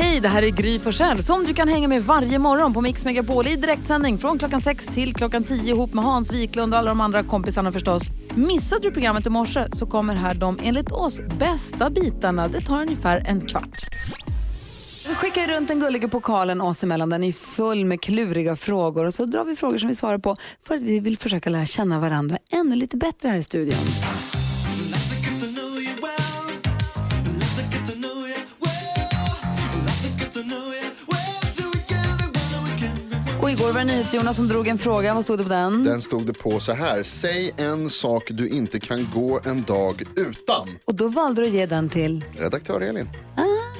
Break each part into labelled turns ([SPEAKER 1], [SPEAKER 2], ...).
[SPEAKER 1] Hej, det här är Gry Forssell som du kan hänga med varje morgon på Mix Megapol i direktsändning från klockan 6 till klockan 10 ihop med Hans Wiklund och alla de andra kompisarna förstås. Missade du programmet i morse så kommer här de enligt oss bästa bitarna. Det tar ungefär en kvart.
[SPEAKER 2] Vi skickar ju runt den gulliga pokalen oss emellan. Den är full med kluriga frågor och så drar vi frågor som vi svarar på för att vi vill försöka lära känna varandra ännu lite bättre här i studion. Och igår var det NyhetsJonas som drog en fråga. Vad stod det på den?
[SPEAKER 3] Den stod det på så här. Säg en sak du inte kan gå en dag utan.
[SPEAKER 2] Och då valde du att ge den till...
[SPEAKER 3] Redaktör Elin.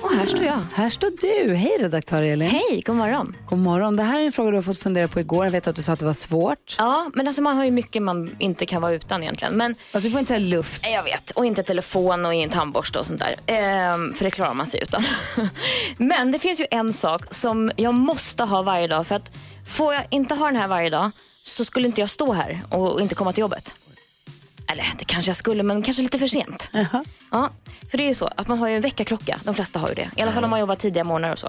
[SPEAKER 2] Och här står jag. Här står du. Hej redaktör Elin.
[SPEAKER 4] Hej, god morgon.
[SPEAKER 2] God morgon. Det här är en fråga du har fått fundera på igår. Jag vet att du sa att det var svårt.
[SPEAKER 4] Ja, men alltså man har ju mycket man inte kan vara utan egentligen. Men
[SPEAKER 2] Alltså du får inte säga luft.
[SPEAKER 4] eh, jag vet, och inte telefon och ingen tandborste och sånt där. Ehm, för det klarar man sig utan. men det finns ju en sak som jag måste ha varje dag för att får jag inte ha den här varje dag så skulle inte jag stå här och inte komma till jobbet. Eller det kanske jag skulle, men kanske lite för sent. Ja, för det är ju så att man har ju en väckarklocka. De flesta har ju det. I alla fall om man jobbar tidiga morgnar och så.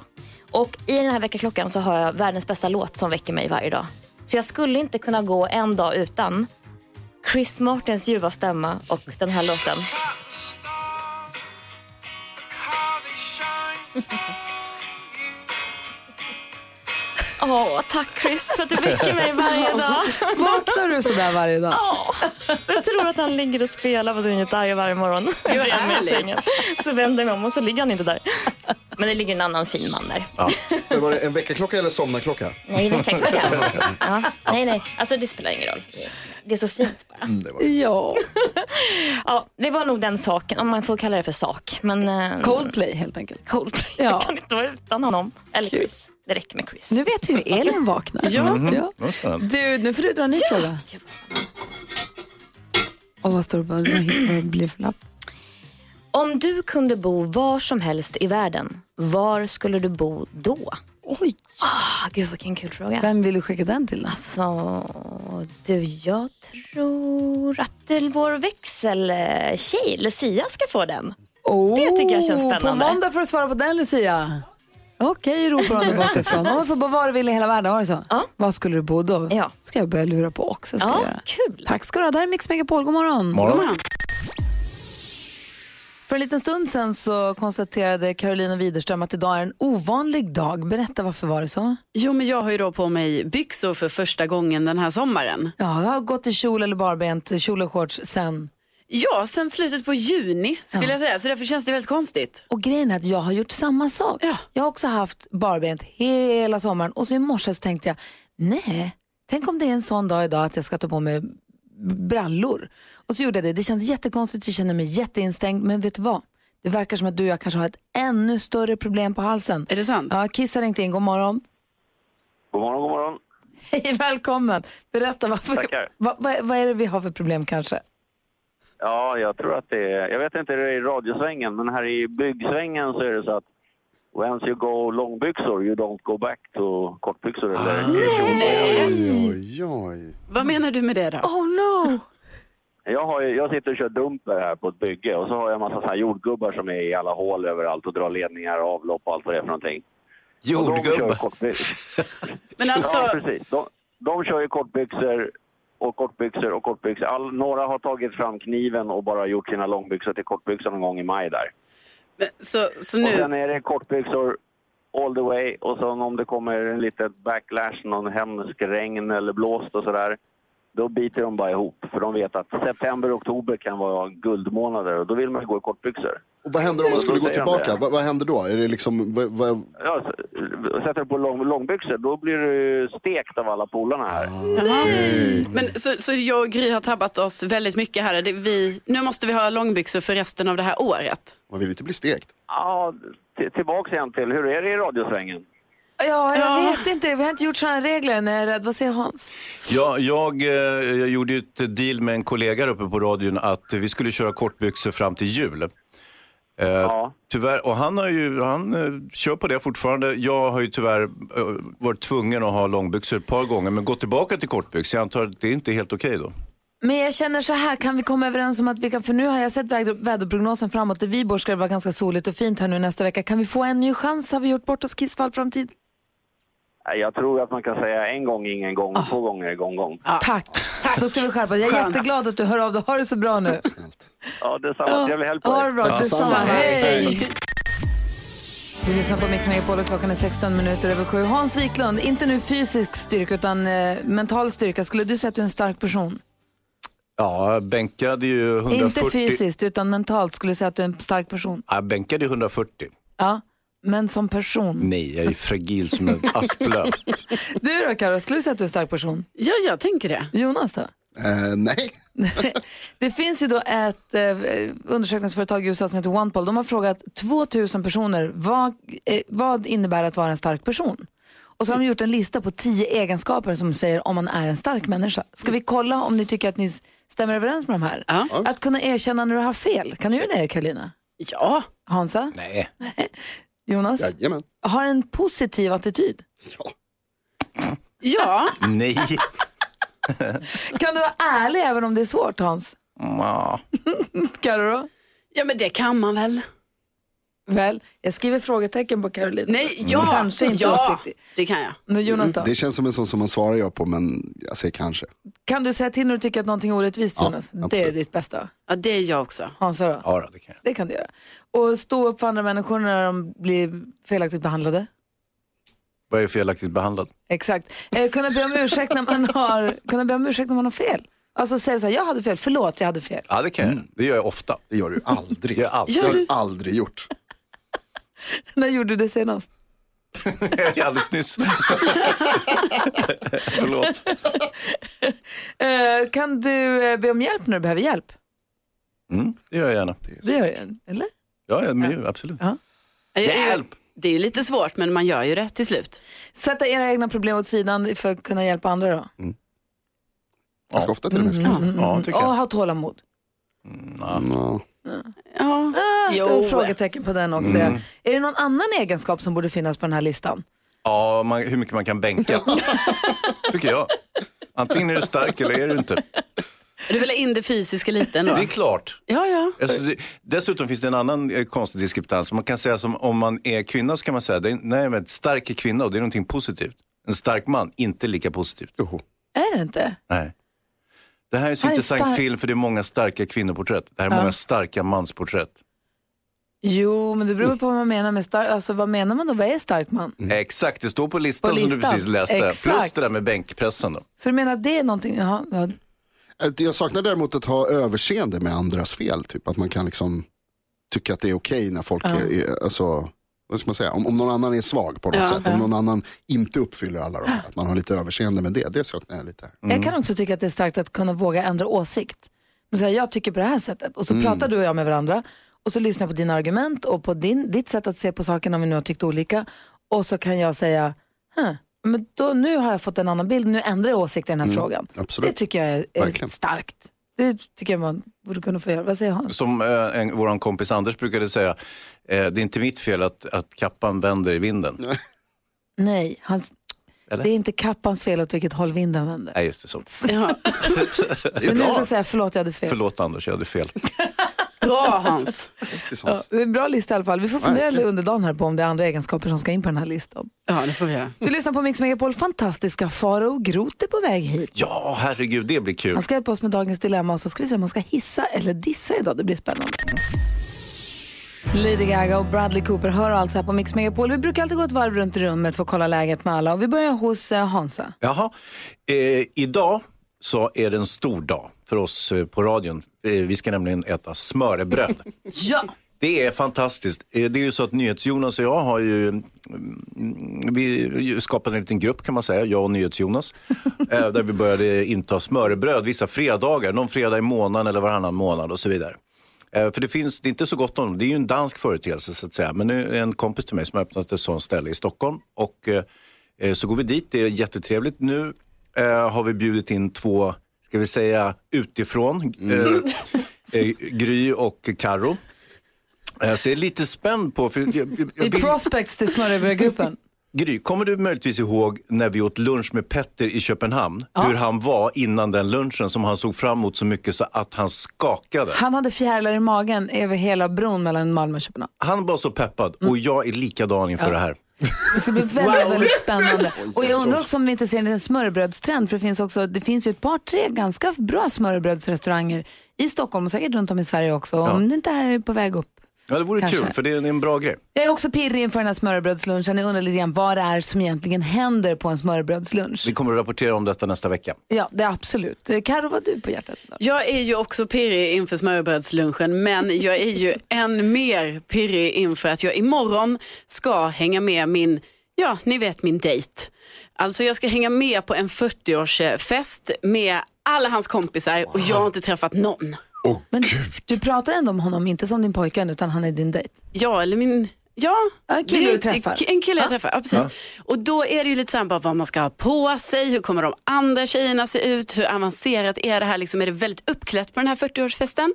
[SPEAKER 4] Och i den här väckarklockan så har jag världens bästa låt som väcker mig varje dag. Så jag skulle inte kunna gå en dag utan Chris Martins ljuva stämma och den här låten. Åh, tack Chris för att du väcker mig varje dag.
[SPEAKER 2] Vaknar du sådär varje dag?
[SPEAKER 4] Ja, jag tror att han ligger och spelar på sin gitarr varje morgon. I varje sängen. Så vänder jag mig om och så ligger han inte där. Men det ligger en annan fin man där.
[SPEAKER 3] Men Var det en väckarklocka eller somnarklocka?
[SPEAKER 4] Nej, väckarklocka. Ja. Nej, nej. Alltså det spelar ingen roll. Det är så fint bara.
[SPEAKER 3] Mm, det var det.
[SPEAKER 2] Ja.
[SPEAKER 4] Ja, det var nog den saken, om man får kalla det för sak. Men, eh,
[SPEAKER 2] Coldplay helt enkelt.
[SPEAKER 4] Coldplay.
[SPEAKER 2] Ja.
[SPEAKER 4] Jag kan inte vara utan honom. Eller
[SPEAKER 2] Kul.
[SPEAKER 4] Chris. Det räcker med Chris.
[SPEAKER 2] Nu vet vi hur Elin vaknar. ja.
[SPEAKER 5] Mhm. Det var spännande.
[SPEAKER 2] Du, nu får du dra en ny fråga. Och vad står det på vad hittar du blir för lapp?
[SPEAKER 4] Om du kunde bo var som helst i världen, var skulle du bo då?
[SPEAKER 2] Oj,
[SPEAKER 4] Ah, gud vilken kul fråga.
[SPEAKER 2] vem vill du skicka den till då?
[SPEAKER 4] Så, du, jag tror att det- vår växeltjej Lucia ska få den.
[SPEAKER 2] Oh,
[SPEAKER 4] Alltså, Det tycker jag känns spännande.
[SPEAKER 2] På måndag får du svara på den Lucia. Okej, ropar hon där bortifrån. Om man får bo var du vill i hela världen, var det så?
[SPEAKER 4] Ja.
[SPEAKER 2] Var skulle du bo då?
[SPEAKER 4] Ja.
[SPEAKER 2] ska jag börja lura på också. Ska jag
[SPEAKER 4] Ja,
[SPEAKER 2] göra.
[SPEAKER 4] kul.
[SPEAKER 2] Tack ska du ha. Det här är Mix Megapol. God morgon.
[SPEAKER 5] Morgon.
[SPEAKER 2] För en liten stund sen så konstaterade Carolina Widerström att idag är en ovanlig dag. Berätta, varför var det så?
[SPEAKER 6] Jo, men jag har ju då på mig byxor för första gången den här sommaren.
[SPEAKER 2] Ja, jag har gått i kjol eller barbent, kjol och shorts sen.
[SPEAKER 6] Ja, sen slutet på juni skulle jag säga, så därför känns det väldigt konstigt.
[SPEAKER 2] Och grejen är att jag har gjort samma sak.
[SPEAKER 6] Ja.
[SPEAKER 2] Jag har också haft barbent hela sommaren och så i morse så tänkte jag, nej, tänk om det är en sån dag idag att jag ska ta på mig brallor. Och så gjorde jag det. Det känns jättekonstigt, jag känner mig jätteinstängd, men vet du vad? Det verkar som att du och jag kanske har ett ännu större problem på halsen.
[SPEAKER 6] Är det sant?
[SPEAKER 2] Ja, Kiss har ringt in, god morgon.
[SPEAKER 7] God morgon, god morgon.
[SPEAKER 2] Hej, välkommen. Berätta, varför,
[SPEAKER 7] Tackar.
[SPEAKER 2] vad, vad, vad är det vi har för problem kanske?
[SPEAKER 7] Ja, jag tror att det är... Jag vet inte hur det är i radiosvängen, men här i byggsvängen så är det så att once you go långbyxor, you don't go back to kortbyxor. Eller
[SPEAKER 3] Oj, oj, oj.
[SPEAKER 6] Vad menar du med det då?
[SPEAKER 2] Oh no!
[SPEAKER 7] jag, har, ju- jag sitter och kör dumper här på ett bygge och så har jag en massa så här jordgubbar som är i alla hål överallt och drar ledningar, avlopp och allt vad det är för någonting. Och de kör
[SPEAKER 5] Jordgubbe.
[SPEAKER 7] kortbyxor.
[SPEAKER 6] Men alltså,
[SPEAKER 7] Ja, precis. De, de kör ju kortbyxor och kortbyxor och kortbyxor. All, några har tagit fram kniven och bara gjort sina långbyxor till kortbyxor någon gång i maj där.
[SPEAKER 6] men- så, så
[SPEAKER 7] Och sen
[SPEAKER 6] nu,
[SPEAKER 7] är det kortbyxor all the way och sen om det kommer en liten backlash, någon hemsk regn eller blåst och sådär. Då biter de bara ihop för de vet att september och oktober kan vara guldmånader och då vill man ju gå i kortbyxor.
[SPEAKER 3] Och vad händer om man skulle gå tillbaka? Vad, vad händer då? Är det liksom... Vad, vad,
[SPEAKER 7] Ja, s- sätter du på lång, långbyxor då blir du stekt av alla polarna här.
[SPEAKER 6] men, så, så jag och Gry har tabbat oss väldigt mycket här. Det, vi, nu måste vi ha långbyxor för resten av det här året.
[SPEAKER 3] man vill ju inte bli stekt.
[SPEAKER 7] Ja, t- tillbaks igen till hur är det i radiosvängen?
[SPEAKER 2] Ja, jag
[SPEAKER 6] Ja.
[SPEAKER 2] vet inte. Vi har inte gjort sådana regler än. Jag är rädd. Vad säger Hans?
[SPEAKER 8] Jag, jag, eh, jag gjorde ju ett deal med en kollega där uppe på radion att vi skulle köra kortbyxor fram till jul. Eh,
[SPEAKER 7] Ja.
[SPEAKER 8] Tyvärr, och han, har ju, han eh, kör på det fortfarande. Jag har ju tyvärr eh, varit tvungen att ha långbyxor ett par gånger, men gått tillbaka till kortbyxor. Jag antar att det är inte är helt okej då.
[SPEAKER 2] Men jag känner så här, kan vi komma överens om att vi kan, för nu har jag sett väder- väderprognosen framåt. Där vi bor ska det vara ganska soligt och fint här nu nästa vecka. Kan vi få en ny chans? Har vi gjort bort oss kissfall framtid?
[SPEAKER 7] Jag tror att man kan säga en gång ingen gång, två gånger gång gång.
[SPEAKER 2] Tack. Tack. Då ska vi skärpa oss. Jag är
[SPEAKER 6] Skönt.
[SPEAKER 2] jätteglad att du hör av dig. Ha det så bra nu.
[SPEAKER 7] Ja, detsamma. Trevlig helg på
[SPEAKER 2] Ha det
[SPEAKER 7] er.
[SPEAKER 2] bra. Detsamma.
[SPEAKER 6] Hej!
[SPEAKER 2] Du lyssnar på Mix Megapol och klockan är 16 minuter över sju. Hans Wiklund, inte nu fysisk styrka utan eh, mental styrka. Skulle du säga att du är en stark person?
[SPEAKER 8] Ja, jag bänkade ju 140.
[SPEAKER 2] Inte fysiskt utan mentalt. Skulle du säga att du är en stark person?
[SPEAKER 8] Ja, Jag bänkade ju 140.
[SPEAKER 2] Ja, men som person.
[SPEAKER 8] Nej, jag är ju fragil som en asplöv.
[SPEAKER 2] Du då Karo, skulle du säga att du är en stark person?
[SPEAKER 6] Ja, jag tänker det.
[SPEAKER 2] Jonas då?
[SPEAKER 3] Eh, nej.
[SPEAKER 2] Det finns ju då ett eh, undersökningsföretag i USA som heter OnePoll. De har frågat 2000 personer vad, eh, vad innebär att vara en stark person? Och så har de gjort en lista på 10 egenskaper som säger om man är en stark människa. Ska vi kolla om ni tycker att ni s- stämmer överens med de här?
[SPEAKER 6] Ja.
[SPEAKER 2] Att kunna erkänna när du har fel. Kan du göra det Karolina?
[SPEAKER 6] Ja,
[SPEAKER 2] Hansa?
[SPEAKER 8] Nej.
[SPEAKER 2] Jonas?
[SPEAKER 3] Jajamän.
[SPEAKER 2] Har en positiv attityd.
[SPEAKER 3] Ja.
[SPEAKER 6] ja.
[SPEAKER 8] Nej.
[SPEAKER 2] Kan du vara ärlig även om det är svårt Hans?
[SPEAKER 8] Ja.
[SPEAKER 2] Karo då?
[SPEAKER 6] ja men det kan man väl.
[SPEAKER 2] Väl, jag skriver frågetecken på Karolina.
[SPEAKER 6] Nej, ja,
[SPEAKER 2] Kanske inte
[SPEAKER 6] ja
[SPEAKER 2] uppriktigt.
[SPEAKER 6] det kan jag.
[SPEAKER 2] Men Jonas då?
[SPEAKER 3] Det känns som en sån som man svarar ja på, men jag säger kanske.
[SPEAKER 2] Kan du säga till när du tycker att någonting är orättvist
[SPEAKER 3] Ja,
[SPEAKER 2] Jonas? det är
[SPEAKER 3] absolut.
[SPEAKER 2] ditt bästa.
[SPEAKER 6] Ja, det är jag också.
[SPEAKER 2] Hansa då?
[SPEAKER 8] ja, då, det kan jag.
[SPEAKER 2] Det kan du göra. Och stå upp för andra människor när de blir felaktigt behandlade.
[SPEAKER 8] Vad är felaktigt behandlad?
[SPEAKER 2] Exakt. Eh, kunna, be om ursäkt när man har, kunna be om ursäkt när man har fel. Alltså säga så här, jag hade fel, förlåt jag hade fel.
[SPEAKER 8] Ja, det kan jag. Det gör jag ofta.
[SPEAKER 3] Det gör du aldrig.
[SPEAKER 8] Jag gör allt.
[SPEAKER 3] Det har du aldrig gjort.
[SPEAKER 2] När gjorde du det senast?
[SPEAKER 8] Alldeles nyss. Förlåt.
[SPEAKER 2] Eh, kan du eh, be om hjälp när du behöver hjälp?
[SPEAKER 8] Mm, det gör jag gärna.
[SPEAKER 2] Det gör jag, eller?
[SPEAKER 8] Ja, ja, men, ju, absolut.
[SPEAKER 6] Ja, jag-
[SPEAKER 8] Hjälp!
[SPEAKER 6] Det är ju lite svårt, men man gör ju det till slut.
[SPEAKER 2] Sätta era egna problem åt sidan för att kunna hjälpa andra då.
[SPEAKER 3] Ganska ofta till och med. skulle jag säga.
[SPEAKER 8] Mm. Ja, tycker
[SPEAKER 2] Och
[SPEAKER 8] jag.
[SPEAKER 2] ha tålamod.
[SPEAKER 3] Ja.
[SPEAKER 6] Ja.
[SPEAKER 2] Ah,
[SPEAKER 6] Jo.
[SPEAKER 2] då är Frågetecken på den också. Är det någon annan egenskap som borde finnas på den här listan?
[SPEAKER 8] Ja, man, hur mycket man kan bänka. tycker jag. Antingen är du stark eller är du inte.
[SPEAKER 6] Du vill ha in det fysiska lite ändå?
[SPEAKER 8] Det är klart.
[SPEAKER 6] Ja, ja.
[SPEAKER 8] Alltså, det, dessutom finns det en annan eh, konstig diskreptans. Man kan säga som om man är kvinna så kan man säga, det är, nej men stark är kvinna och det är någonting positivt. En stark man, inte lika positivt.
[SPEAKER 3] Joho.
[SPEAKER 2] Är det inte?
[SPEAKER 8] Nej. Det här är en så
[SPEAKER 2] Han är
[SPEAKER 8] intressant
[SPEAKER 2] stark.
[SPEAKER 8] film för det är många starka kvinnoporträtt. Det här är många starka mansporträtt.
[SPEAKER 2] Jo, men det beror på vad man menar med stark. Alltså vad menar man då? Vad är stark man?
[SPEAKER 8] Exakt, det står på listan,
[SPEAKER 2] På
[SPEAKER 8] som du
[SPEAKER 2] listan.
[SPEAKER 8] precis läste. Plus
[SPEAKER 2] Exakt.
[SPEAKER 8] det där med bänkpressen. Då.
[SPEAKER 2] Så du menar att det är någonting? Jaha, ja.
[SPEAKER 3] Jag saknar däremot att ha överseende med andras fel. Typ att man kan liksom tycka att det är okej när folk är, är, alltså, vad ska man säga, om, om någon annan är svag på något
[SPEAKER 6] Ja.
[SPEAKER 3] sätt. Om någon annan inte uppfyller alla de här. Att man har lite överseende med det. Det saknar jag lite. här.
[SPEAKER 2] Jag kan också tycka att det är starkt att kunna våga ändra åsikt. Men så här, jag tycker på det här sättet och så
[SPEAKER 3] Mm.
[SPEAKER 2] pratar du och jag med varandra och så lyssnar jag på dina argument och på din, ditt sätt att se på saken om vi nu har tyckt olika och så kan jag säga, huh, men då, nu har jag fått en annan bild, nu ändrar jag åsikt i den här frågan.
[SPEAKER 3] Mm. absolut.
[SPEAKER 2] Det tycker jag är, typ är
[SPEAKER 3] Verkligen.
[SPEAKER 2] starkt. Det tycker jag man borde kunna få göra. Vad säger han?
[SPEAKER 8] Som eh, en, vår kompis Anders brukade säga, eh, det är inte mitt fel att, att kappan vänder i vinden.
[SPEAKER 2] Nej, hans,
[SPEAKER 8] Eller?
[SPEAKER 2] det är inte kappans fel åt vilket håll vinden vänder.
[SPEAKER 8] Nej, just det. Så.
[SPEAKER 6] ja.
[SPEAKER 3] Det är
[SPEAKER 2] Men nu ska
[SPEAKER 3] bra.
[SPEAKER 2] jag säga förlåt, jag hade fel.
[SPEAKER 8] Förlåt Anders, jag hade fel.
[SPEAKER 6] Bra, Hans.
[SPEAKER 2] Ja, det är en bra lista i alla fall. Vi får fundera
[SPEAKER 3] Verkligen.
[SPEAKER 2] lite under dagen här på om det är andra egenskaper som ska in på den här listan.
[SPEAKER 6] Ja, det får vi göra.
[SPEAKER 8] Mm.
[SPEAKER 2] Du lyssnar på Mix Megapol. Fantastiska Faro Groth är på väg hit.
[SPEAKER 8] Ja, herregud, det blir kul.
[SPEAKER 2] Han ska hjälpa oss med dagens dilemma och så ska vi se om man ska hissa eller dissa idag. Det blir spännande. Lady Gaga och Bradley Cooper hör alltså här på Mix Megapol. Vi brukar alltid gå ett varv runt rummet för att kolla läget med alla och vi börjar hos eh, Hansa.
[SPEAKER 8] Jaha. Eh, idag så är det en stor dag för oss eh, på radion. Eh, vi ska nämligen äta smörrebröd.
[SPEAKER 6] Ja.
[SPEAKER 8] Det är fantastiskt. Eh, Det är ju så att NyhetsJonas och jag har ju, mm, vi skapade en liten grupp kan man säga, jag och NyhetsJonas. eh, där vi började inta smörrebröd vissa fredagar, någon fredag i månaden eller varannan månad och så vidare. Eh, För det finns, det är inte så gott om dem. Det är ju en dansk företeelse så att säga. Men nu är en kompis till mig som har öppnat ett sånt ställe i Stockholm. Och eh, eh, så går vi dit, det är jättetrevligt. Nu eh, har vi bjudit in två, ska vi säga utifrån,
[SPEAKER 2] Mm.
[SPEAKER 8] eh, eh, Gry och Karo. Eh, Så jag är lite spänd på, för jag, jag,
[SPEAKER 2] Det
[SPEAKER 8] jag
[SPEAKER 2] är
[SPEAKER 8] vill,
[SPEAKER 2] prospects till smörrebrödgruppen.
[SPEAKER 8] Gry, kommer du möjligtvis ihåg när vi åt lunch med Petter i Köpenhamn? Hur han var innan den lunchen som han såg fram emot så mycket så att han skakade.
[SPEAKER 2] Han hade fjärilar i magen över hela bron mellan Malmö och Köpenhamn.
[SPEAKER 8] Han var så peppad och jag är likadan inför det här.
[SPEAKER 2] Det ska bli väldigt, väldigt spännande. Och jag undrar också om vi inte ser en liten smörrebrödstrend, för det finns, också, det finns ju ett par, tre ganska bra smörrebrödsrestauranger i Stockholm och säkert runt om i Sverige också, om det inte här är på väg upp.
[SPEAKER 8] Ja, det vore
[SPEAKER 2] Kanske.
[SPEAKER 8] kul för det är det är en bra grej.
[SPEAKER 2] Jag är också pirrig inför den här smörrebrödslunchen. Jag undrar lite grann vad det är som egentligen händer på en smörrebrödslunch.
[SPEAKER 8] Vi kommer att rapportera om detta nästa vecka.
[SPEAKER 2] Ja, det är absolut. Eh, Karo, vad har du på hjärtat? idag?
[SPEAKER 6] Jag är ju också pirrig inför smörrebrödslunchen men jag är ju än mer pirrig inför att jag imorgon ska hänga med min, ja ni vet min dejt. Alltså jag ska hänga med på en 40-årsfest med alla hans kompisar och jag har inte träffat någon.
[SPEAKER 2] Men du pratar ändå om honom, inte som din pojkvän, utan han är din dejt.
[SPEAKER 6] Ja, eller min... Ja,
[SPEAKER 2] Ja, en kille
[SPEAKER 6] det är
[SPEAKER 2] du
[SPEAKER 6] ett-
[SPEAKER 2] träffar.
[SPEAKER 6] En kille jag träffar, ja precis. Och då är det ju lite så här bara vad man ska ha på sig, hur kommer de andra tjejerna se ut, hur avancerat är det här, liksom, är det väldigt uppklätt på den här 40-årsfesten?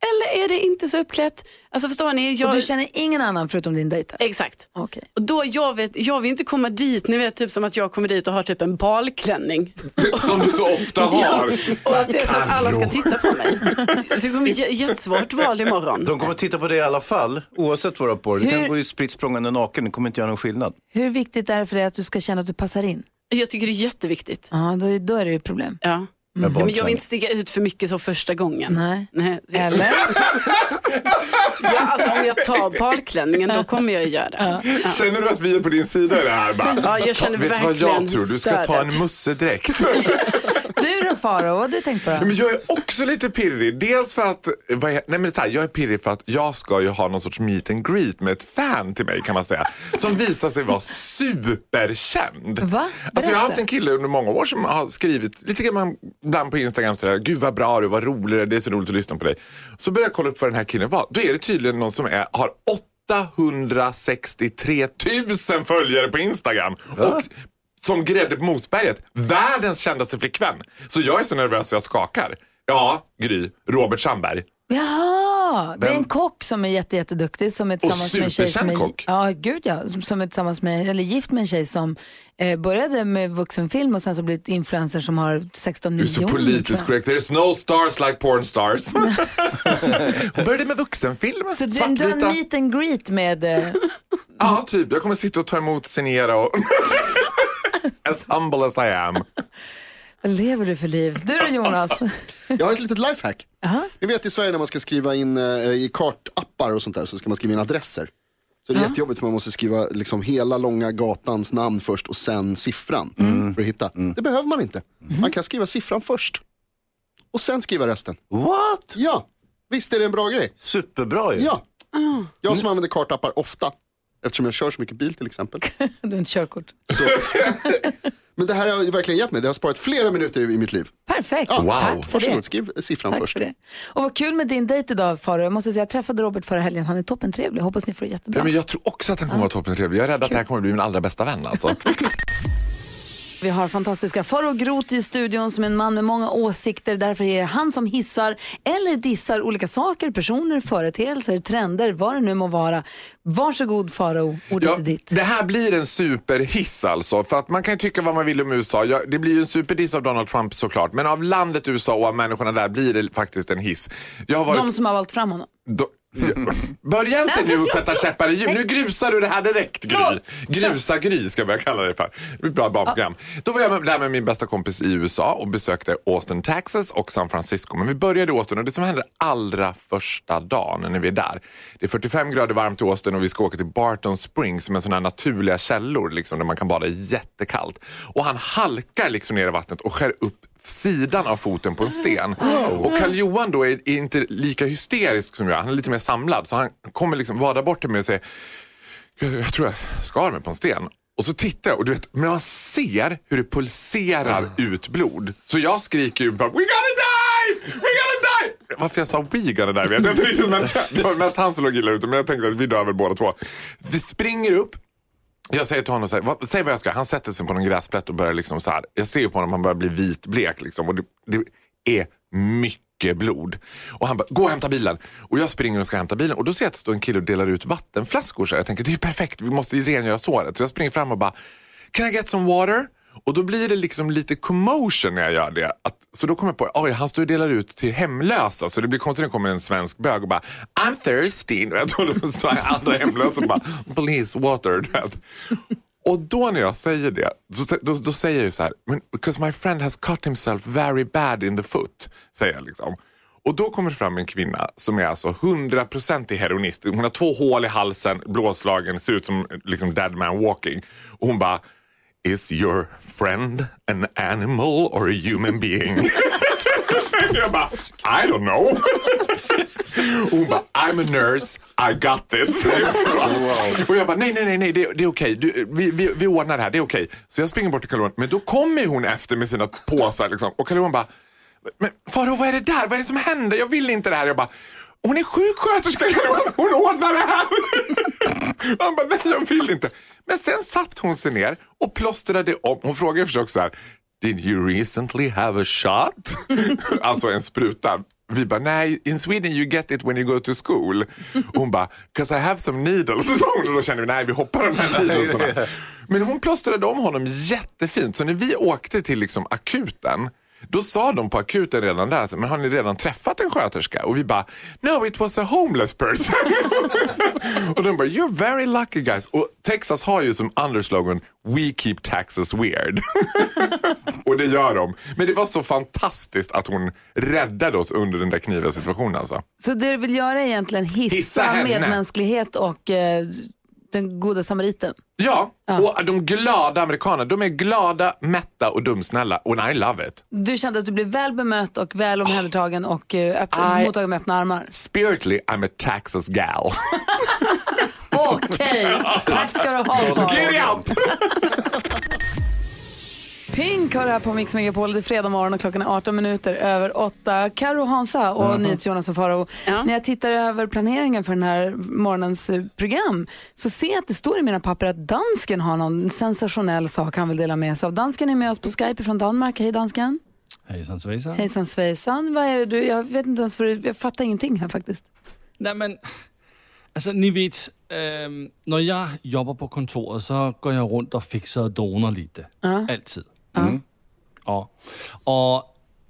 [SPEAKER 6] Eller är det inte så uppklätt? Alltså förstår ni? Jag...
[SPEAKER 2] Och du känner ingen annan förutom din dejt? här?
[SPEAKER 6] Exakt.
[SPEAKER 2] Okej.
[SPEAKER 6] Och då, jag, vet, jag vill inte komma dit, ni vet typ som att jag kommer dit och har typ en balklänning.
[SPEAKER 9] Typ Som du så ofta har.
[SPEAKER 6] Och att det är så att alla ska titta på mig. Så det kommer bli j- jättesvårt val imorgon.
[SPEAKER 8] De kommer att titta på det i alla fall, oavsett vad du har på dig. Du kan gå i spritt språngande naken, det kommer inte göra någon skillnad.
[SPEAKER 2] Hur viktigt är det för dig att du ska känna att du passar in?
[SPEAKER 6] Jag tycker det är jätteviktigt.
[SPEAKER 2] Ja, då, då är det ju problem.
[SPEAKER 6] Ja. Ja, Men jag vill inte sticka ut för mycket så första gången.
[SPEAKER 2] Nej.
[SPEAKER 6] Nej.
[SPEAKER 2] Eller?
[SPEAKER 6] Ja, alltså, om jag tar balklänningen då kommer jag ju göra det.
[SPEAKER 9] Känner du att vi är på din sida i det här? Bara,
[SPEAKER 6] Ja, jag känner
[SPEAKER 9] vet du vad
[SPEAKER 6] verkligen
[SPEAKER 9] jag tror? Du ska ta
[SPEAKER 6] stödet.
[SPEAKER 9] en mussedräkt.
[SPEAKER 2] Du då Faro, vad har du tänkt på då?
[SPEAKER 9] Men jag är också lite pirrig. Dels för att, vad är, nej men så här, jag är pirrig för att jag ska ju ha någon sorts meet and greet med ett fan till mig kan man säga. Som visar sig vara superkänd.
[SPEAKER 2] Va?
[SPEAKER 9] Alltså jag har haft
[SPEAKER 2] Berätta.
[SPEAKER 9] en kille under många år som har skrivit lite grann ibland på Instagram sådär, gud vad bra du är, vad rolig du är, det är så roligt att lyssna på dig. Så börjar jag kolla upp vad den här killen var. Då är det tydligen någon som är, har 863 000 följare på Instagram. Och som grädde på mosberget, världens kändaste flickvän. Så jag är så nervös så jag skakar. Ja, Gry, Robert Sandberg.
[SPEAKER 2] Jaha, det är en kock som är jätte, jätteduktig som är tillsammans med en tjej som är,
[SPEAKER 9] superkänd kock.
[SPEAKER 2] ja, gud ja, som- som är tillsammans med, eller gift med en tjej som eh, började med vuxenfilm och sen så blivit influencer som har 16
[SPEAKER 9] Du är
[SPEAKER 2] miljoner.
[SPEAKER 9] så
[SPEAKER 2] tror
[SPEAKER 9] politiskt
[SPEAKER 2] jag.
[SPEAKER 9] korrekt. There's no stars like porn stars. Hon började med vuxenfilm.
[SPEAKER 2] Så du, du har en
[SPEAKER 9] svartvita.
[SPEAKER 2] meet and greet med, eh,
[SPEAKER 9] Ja, typ. Jag kommer sitta och ta emot Sinera och... as humble as I am.
[SPEAKER 2] vad lever du för liv? Du då Jonas?
[SPEAKER 3] Jag har ett litet lifehack. Ni vet i Sverige när man ska skriva in eh, i kartappar och sånt där så ska man skriva in adresser. Så det är jättejobbigt för man måste skriva liksom hela långa gatans namn först och sen siffran
[SPEAKER 2] Mm.
[SPEAKER 3] för att hitta. Det behöver man inte. Man kan skriva siffran först och sen skriva resten.
[SPEAKER 8] What?
[SPEAKER 3] Ja, visst är det en bra grej?
[SPEAKER 8] Superbra ju.
[SPEAKER 3] Ja.
[SPEAKER 2] Ah.
[SPEAKER 3] Jag
[SPEAKER 2] Mm.
[SPEAKER 3] som använder kartappar ofta, eftersom jag kör så mycket bil till exempel.
[SPEAKER 2] Du har ett körkort.
[SPEAKER 3] Så. Men det här har ju verkligen hjälpt mig. Det har sparat flera minuter i mitt liv.
[SPEAKER 2] Perfekt,
[SPEAKER 3] Ja,
[SPEAKER 2] tack för det.
[SPEAKER 3] Varsågod, skriv siffran
[SPEAKER 2] Tack
[SPEAKER 3] först.
[SPEAKER 2] för det. Och vad kul med din dejt idag Faro. Jag måste säga, jag träffade Robert förra helgen. Han är toppentrevlig. Hoppas ni får det jättebra.
[SPEAKER 9] Ja, men jag tror också att han kommer vara toppentrevlig. Jag är rädd att det här kommer bli min allra bästa vän. Alltså.
[SPEAKER 2] Vi har fantastiska Faro Groth i studion som är en man med många åsikter. Därför är det han som hissar eller dissar olika saker, personer, företeelser, trender, vad det nu må vara. Varsågod Faro, ordet är ditt.
[SPEAKER 9] Det här blir en superhiss alltså. För att man kan ju tycka vad man vill om USA. Ja, det blir ju en superdiss av Donald Trump såklart. Men av landet USA och av människorna där blir det faktiskt en hiss. Jag har varit...
[SPEAKER 2] De som har valt fram honom.
[SPEAKER 9] Då, börja inte nu och sätta käppar i hjul. Nu grusar du det här direkt Gry. Grusa Gry ska jag börja kalla det för. Det blir ett bra barnprogram. Då var jag med, där med min bästa kompis i USA och besökte Austin, Texas och San Francisco. Men vi började i Austin och det som händer allra första dagen när vi är där. Det är 45 grader varmt i Austin och vi ska åka till Barton Springs som är sådana här naturliga källor liksom, där man kan bada jättekallt. Och han halkar liksom ner i vattnet och skär upp sidan av foten på en sten. Och Karl Johan då är, är inte lika hysterisk som jag, han är lite mer samlad. Så han kommer liksom vada bort till mig och säger, "Gud, jag tror jag skar mig på en sten. Och så tittar jag och du vet, men man ser hur det Ah. pulserar ut blod. Så jag skriker ju bara, we gotta die! We gotta die! varför jag sa Wigan det där vet jag inte riktigt. Men det var mest han som låg illa ute, men jag tänkte att vi dör väl båda två. Vi springer upp. Jag säger till honom, så här, "Vad- säg vad jag ska. Han sätter sig på någon gräsplätt och börjar liksom så här. Jag ser ju på honom, han börjar bli vitblek liksom. Och det, det är mycket blod. Och han bara, gå och hämta bilen. Och jag springer och ska hämta bilen. Och då ser jag att det står en kille och delar ut vattenflaskor. Så här. jag tänker, det är ju perfekt. Vi måste ju rengöra såret. Så jag springer fram och bara, can I get some water? Och då blir det liksom lite commotion när jag gör det. Att, så då kommer jag på, oj han står och delar ut till hemlösa. Så det blir konstigt när det kommer en svensk bög och bara I'm thirsty. Och jag tror de står här, andra hemlösa och bara please water. Du vet. Och då när jag säger det, så, då, då säger jag ju så här, "Men because my friend has cut himself very bad in the foot. Säger jag liksom. Och då kommer det fram en kvinna som är alltså 100% i heroinist. Hon har två hål i halsen, blåslagen, ser ut som liksom dead man walking. Och hon bara Is your friend an animal or a human being? jag bara, I don't know. Hon bara, I'm a nurse, I got this. Och jag bara, nej, nej, nej, nej det, det är okej. Du, Vi, vi, vi ordnar det här, det är okej. Så jag springer bort till Carl-Johan, men då kommer hon efter med sina påsar. Liksom. Och Carl-Johan bara, men Faro, vad är det där? Vad är det som händer? Jag vill inte det här. Jag bara, hon är sjuksköterska, Carl-Johan. hon ordnar det här. Han bara, nej jag vill inte. Men sen satt hon sig ner och plåstrade om. Hon frågade försök så här, did you recently have a shot? alltså en spruta. Vi bara, nej, in Sweden you get it when you go to school. Hon bara, 'cause I have some needles. Så hon, och då kände vi, nej vi hoppar de här needlesarna. Men hon plåstrade om honom jättefint. Så när vi åkte till liksom akuten, då sa de på akuten redan där, men har ni redan träffat en sköterska? Och vi bara, no it was a homeless person. och de bara, you're very lucky guys. Och Texas har ju som underslogan, we keep taxes weird. och det gör de. Men det var så fantastiskt att hon räddade oss under den där kniviga situationen. Alltså.
[SPEAKER 2] Så det du vill göra är egentligen hissa,
[SPEAKER 9] Hissa henne.
[SPEAKER 2] medmänsklighet och eh, den goda samariten.
[SPEAKER 9] Ja, och de glada amerikanerna, de är glada, mätta och dumsnälla. And I love it.
[SPEAKER 2] Du kände att du blev väl bemött och väl omhändertagen och eh, öppen,
[SPEAKER 9] I-
[SPEAKER 2] mottagen med öppna armar.
[SPEAKER 9] Spiritually I'm a Texas gal.
[SPEAKER 2] Okej, tack ska du ha.
[SPEAKER 9] Get
[SPEAKER 2] Carl.
[SPEAKER 9] it up!
[SPEAKER 2] Pink har det här på Mix Megapol. Det är fredag morgon och klockan är 18 minuter över 8. Karo Hansa och
[SPEAKER 9] Mhm.
[SPEAKER 2] NyhetsJonas och Farao. När jag tittar över planeringen för den här morgonens eh, program så ser jag att det står i mina papper att dansken har någon sensationell sak han vill dela med sig av. Dansken är med oss på Skype från Danmark. Hej dansken.
[SPEAKER 10] Hejsan svejsan.
[SPEAKER 2] Hejsan svejsan. Vad är det du? Jag vet inte ens vad du... Jag fattar ingenting här faktiskt.
[SPEAKER 10] Nej, men altså, ni ved, øhm, når jeg jobber på kontoret, så går jeg rundt og fikser og doner lidt.
[SPEAKER 2] Ja.
[SPEAKER 10] Altid. Mhm. Og, og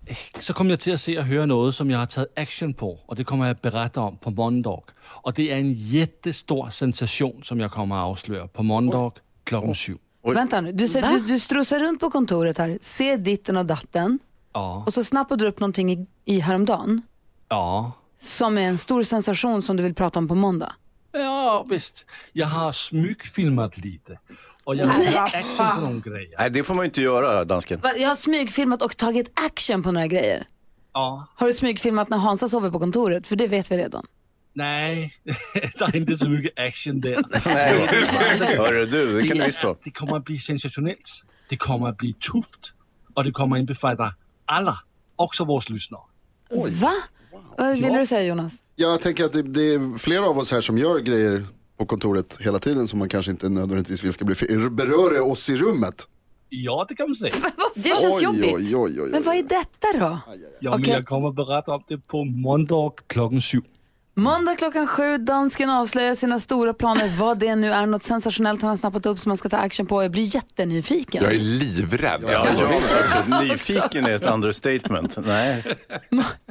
[SPEAKER 10] eh, så kom jeg til at se og høre noget, som jeg har taget action på, og det kommer jeg at berette om på Mondog. Og det er en jättestor sensation, som jeg kommer at afsløre på Mondog klokken syv.
[SPEAKER 2] Vänta nu. Du, ser, du, du strosar runt på kontoret här, ser ditten och datten
[SPEAKER 10] Ja,
[SPEAKER 2] och så snappar du upp någonting i, i häromdagen.
[SPEAKER 10] ja.
[SPEAKER 2] Som är en stor sensation som du vill prata om på måndag.
[SPEAKER 10] Ja, visst. Jeg har smygfilmet lidt, og jeg har taget action på nogle grejer.
[SPEAKER 8] Nej, det får man ju inte göra, dansken.
[SPEAKER 2] Va, Jag har smygfilmat och tagit action på några grejer.
[SPEAKER 10] Ja.
[SPEAKER 2] Har du smygfilmat när Hansa sover på kontoret? För det vet vi redan.
[SPEAKER 10] Nej, der er ikke så mycket action der.
[SPEAKER 8] Hörru du, det kan du visst vara.
[SPEAKER 10] Det kommer at blive sensationelt. Det kommer at blive tuft. Og det kommer at indbefatte alle, også vores lyssnere.
[SPEAKER 2] Va? Vad vill du säga Jonas?
[SPEAKER 3] Jag tänker att det, det är flera av oss här som gör grejer på kontoret hela tiden som man kanske inte nödvändigtvis vill ska bli fe- beröra oss i rummet.
[SPEAKER 10] Ja, det kan man säga.
[SPEAKER 3] Det känns Oj, jobbigt. oj, oj, oj,
[SPEAKER 2] Men vad är detta då?
[SPEAKER 10] Ja, men
[SPEAKER 2] Okay.
[SPEAKER 10] jeg kommer at berette om det på måndag klokken syv.
[SPEAKER 2] Måndag klockan sju, dansken avslöjar sina stora planer. Vad det nu är, något sensationellt han har snappat upp som man ska ta action på. Jag blir jättenyfiken.
[SPEAKER 9] Jag är livrädd.
[SPEAKER 8] Ja, alltså, alltså, nyfiken är ett understatement. Nej.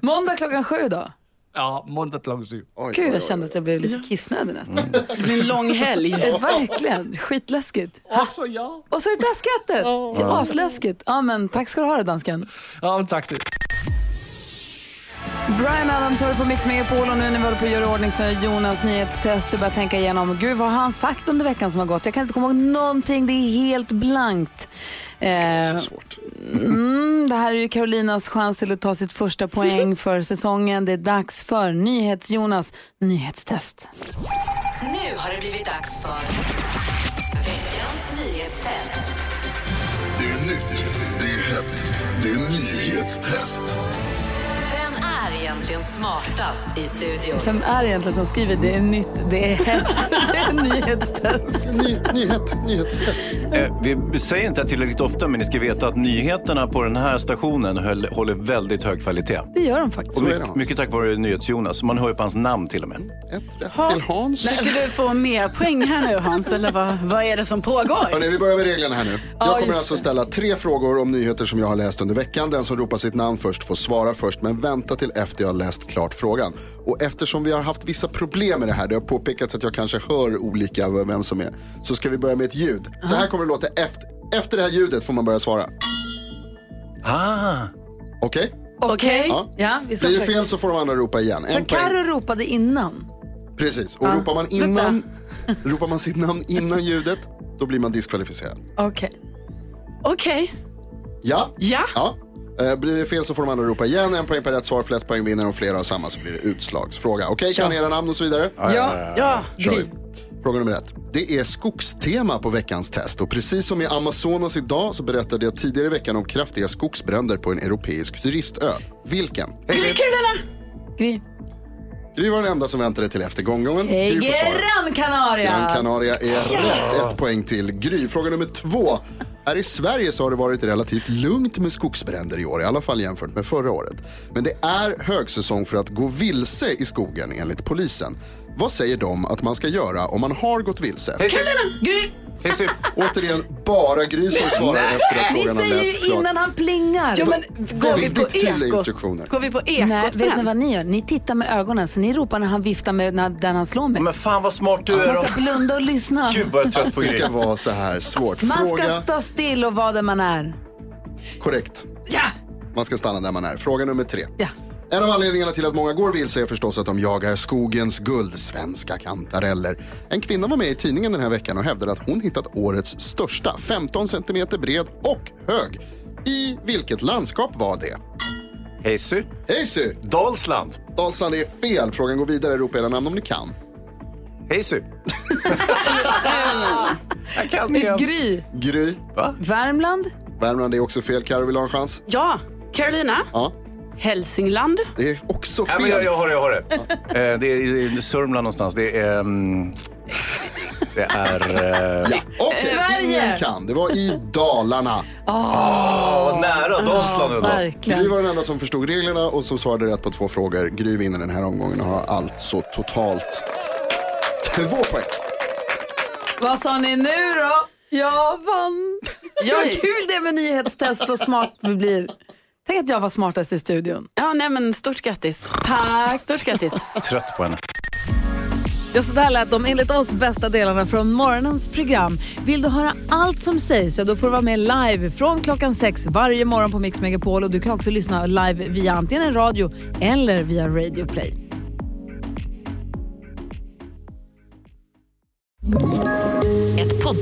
[SPEAKER 2] Måndag klockan sju då?
[SPEAKER 10] Ja, måndag klokken syv.
[SPEAKER 2] Gud, jag kände att jag blev lite kissnödig nästan.
[SPEAKER 10] Mm.
[SPEAKER 6] Det blir en lång helg.
[SPEAKER 2] Eh, Verkligen, skitläskigt.
[SPEAKER 10] Også jeg.
[SPEAKER 2] Och så det där skrattet! Ja, Asläskigt. Ja, men tack ska du ha det, dansken.
[SPEAKER 10] Ja, men tak til.
[SPEAKER 2] Brian Adams hör på Mix Megapol och nu när vi håller på att göra i ordning för Jonas nyhetstest så börjar jag tänka igenom, gud vad har han sagt under veckan som har gått? Jag kan inte komma ihåg någonting, det är helt blankt. Eh, mm, det här är ju Carolinas chans till att ta sitt första poäng för säsongen. Det är dags för NyhetsJonas nyhetstest.
[SPEAKER 11] Nu har det blivit dags för veckans nyhetstest.
[SPEAKER 12] Det är nytt, det är hett, det är nyhetstest.
[SPEAKER 11] Vem är egentligen egentligen smartast i studion?
[SPEAKER 2] Vem är det egentligen som skriver det är nytt, det är hett, det är nyhetstest?
[SPEAKER 3] Ny, nyhet, nyhetstest.
[SPEAKER 8] Eh, vi säger inte det tillräckligt ofta, men ni ska veta att nyheterna på den här stationen höll, håller väldigt hög kvalitet.
[SPEAKER 2] Det gör de faktiskt.
[SPEAKER 8] Och mycket, mycket tack vare NyhetsJonas. Man hör ju på hans namn till och med.
[SPEAKER 6] till Hans. Ska du få mer poäng här nu Hans, eller vad, vad är det som pågår?
[SPEAKER 3] Hörrni, vi börjar med reglerna här nu.
[SPEAKER 6] Ja,
[SPEAKER 3] Jag kommer
[SPEAKER 6] just
[SPEAKER 3] alltså ställa tre frågor om nyheter som jag har läst under veckan. Den som ropar sitt namn först får svara först, men vänta till efter jag har läst klart frågan. Och eftersom vi har haft vissa problem med det här, det har påpekats att jag kanske hör olika vem som är, så ska vi börja med ett ljud. Så här kommer det låta efter, efter det här ljudet får man börja svara.
[SPEAKER 8] Ah.
[SPEAKER 3] Okej?
[SPEAKER 2] Okej.
[SPEAKER 3] Ja.
[SPEAKER 2] Ja, vi ska
[SPEAKER 3] Blir det
[SPEAKER 2] försöka.
[SPEAKER 3] fel så får de andra ropa igen.
[SPEAKER 2] För
[SPEAKER 3] En poäng.
[SPEAKER 2] Carro ropade innan.
[SPEAKER 3] Precis, och
[SPEAKER 2] Ja.
[SPEAKER 3] ropar, man innan, ropar man sitt namn innan ljudet, då blir man diskvalificerad.
[SPEAKER 2] Okej.
[SPEAKER 6] Okej.
[SPEAKER 3] Ja.
[SPEAKER 6] Ja.
[SPEAKER 3] ja. Eh, Blir det fel så får de andra ropa igen. En poäng per rätt svar, flest poäng vinner. Om flera har samma så blir det utslagsfråga. Okej, kan ni era namn och så vidare?
[SPEAKER 6] Ja. Ja. Ja.
[SPEAKER 3] Kör vi. Fråga nummer ett. Det är skogstema på veckans test och precis som i Amazonas idag så berättade jag tidigare i veckan om kraftiga skogsbränder på en europeisk turistö. Vilken?
[SPEAKER 6] Gry Karolina!
[SPEAKER 2] Gry.
[SPEAKER 3] Gry var den enda som väntade till efter gånggången. Gry får svara.
[SPEAKER 2] Gran Canaria!
[SPEAKER 3] Gran Canaria är rätt. Ett poäng till Gry. Fråga nummer två. Här i Sverige så har det varit relativt lugnt med skogsbränder i år, i alla fall jämfört med förra året. Men det är högsäsong för att gå vilse i skogen enligt polisen. Vad säger de att man ska göra om man har gått vilse?
[SPEAKER 2] Gry!
[SPEAKER 3] Återigen, bara Gry som svarar efter att frågan
[SPEAKER 2] Ni
[SPEAKER 3] har
[SPEAKER 2] säger
[SPEAKER 3] lästs
[SPEAKER 2] ju innan
[SPEAKER 3] klart.
[SPEAKER 2] han plingar.
[SPEAKER 3] Ja, men går vi på Väldigt tydliga ekot? instruktioner. Går
[SPEAKER 6] vi på
[SPEAKER 2] ekot? Nej,
[SPEAKER 6] på
[SPEAKER 2] vet ni
[SPEAKER 6] den?
[SPEAKER 2] vad ni gör? Ni tittar med ögonen, så ni ropar när han viftar med när, den han slår med.
[SPEAKER 8] Men fan vad smart du är.
[SPEAKER 2] Man ska blunda och lyssna.
[SPEAKER 8] Gud vad jag är trött på
[SPEAKER 3] Det ska
[SPEAKER 8] grejer.
[SPEAKER 3] vara så här svårt.
[SPEAKER 2] Man ska
[SPEAKER 3] Fråga
[SPEAKER 2] stå still och vara där man är.
[SPEAKER 3] Korrekt. Man ska stanna där man är. Fråga nummer tre. En av anledningarna till att många går vilse är förstås att de jagar skogens guld, svenska kantareller. En kvinna var med i tidningen den här veckan och hävdade att hon hittat årets största, 15 cm bred och hög. I vilket landskap var det?
[SPEAKER 8] Hejsy.
[SPEAKER 3] Hejsy.
[SPEAKER 8] Dalsland.
[SPEAKER 3] Dalsland är fel. Frågan går vidare. Ropa era namn om ni kan.
[SPEAKER 8] Hejsy.
[SPEAKER 3] Jag
[SPEAKER 2] kan igen. Gry.
[SPEAKER 3] Gry.
[SPEAKER 2] Värmland.
[SPEAKER 3] Värmland är också fel. Carro vill ha en chans.
[SPEAKER 6] Ja, Carolina.
[SPEAKER 3] Ja.
[SPEAKER 6] Hälsingland.
[SPEAKER 3] Det är också
[SPEAKER 8] Nej, men jag, jag har det, jag har det. Eh, det är i Sörmland någonstans. Det är... ehm, det är... eh,
[SPEAKER 3] Och
[SPEAKER 2] Sverige.
[SPEAKER 3] ingen kan. Det var i Dalarna.
[SPEAKER 8] Åh, vad nära Dalsland ändå.
[SPEAKER 2] verkligen.
[SPEAKER 3] Gry var den enda som förstod reglerna och som svarade rätt på två frågor. Gry vinner den här omgången och har alltså totalt två poäng.
[SPEAKER 2] Vad sa ni nu då? Jag vann.
[SPEAKER 6] Jag-
[SPEAKER 2] Vad kul det är med nyhetstest, vad smart vi blir. Tänk att jag var smartast i studion.
[SPEAKER 6] Ja, nej men stort grattis.
[SPEAKER 2] Tack.
[SPEAKER 6] Stort grattis.
[SPEAKER 8] Trött på henne.
[SPEAKER 2] Ja, så där lät de enligt oss bästa delarna från morgonens program. Vill du höra allt som sägs, ja, då får du vara med live från klockan sex varje morgon på Mix Megapol. Och du kan också lyssna live via antingen en radio eller via Radio Play.
[SPEAKER 11] Ett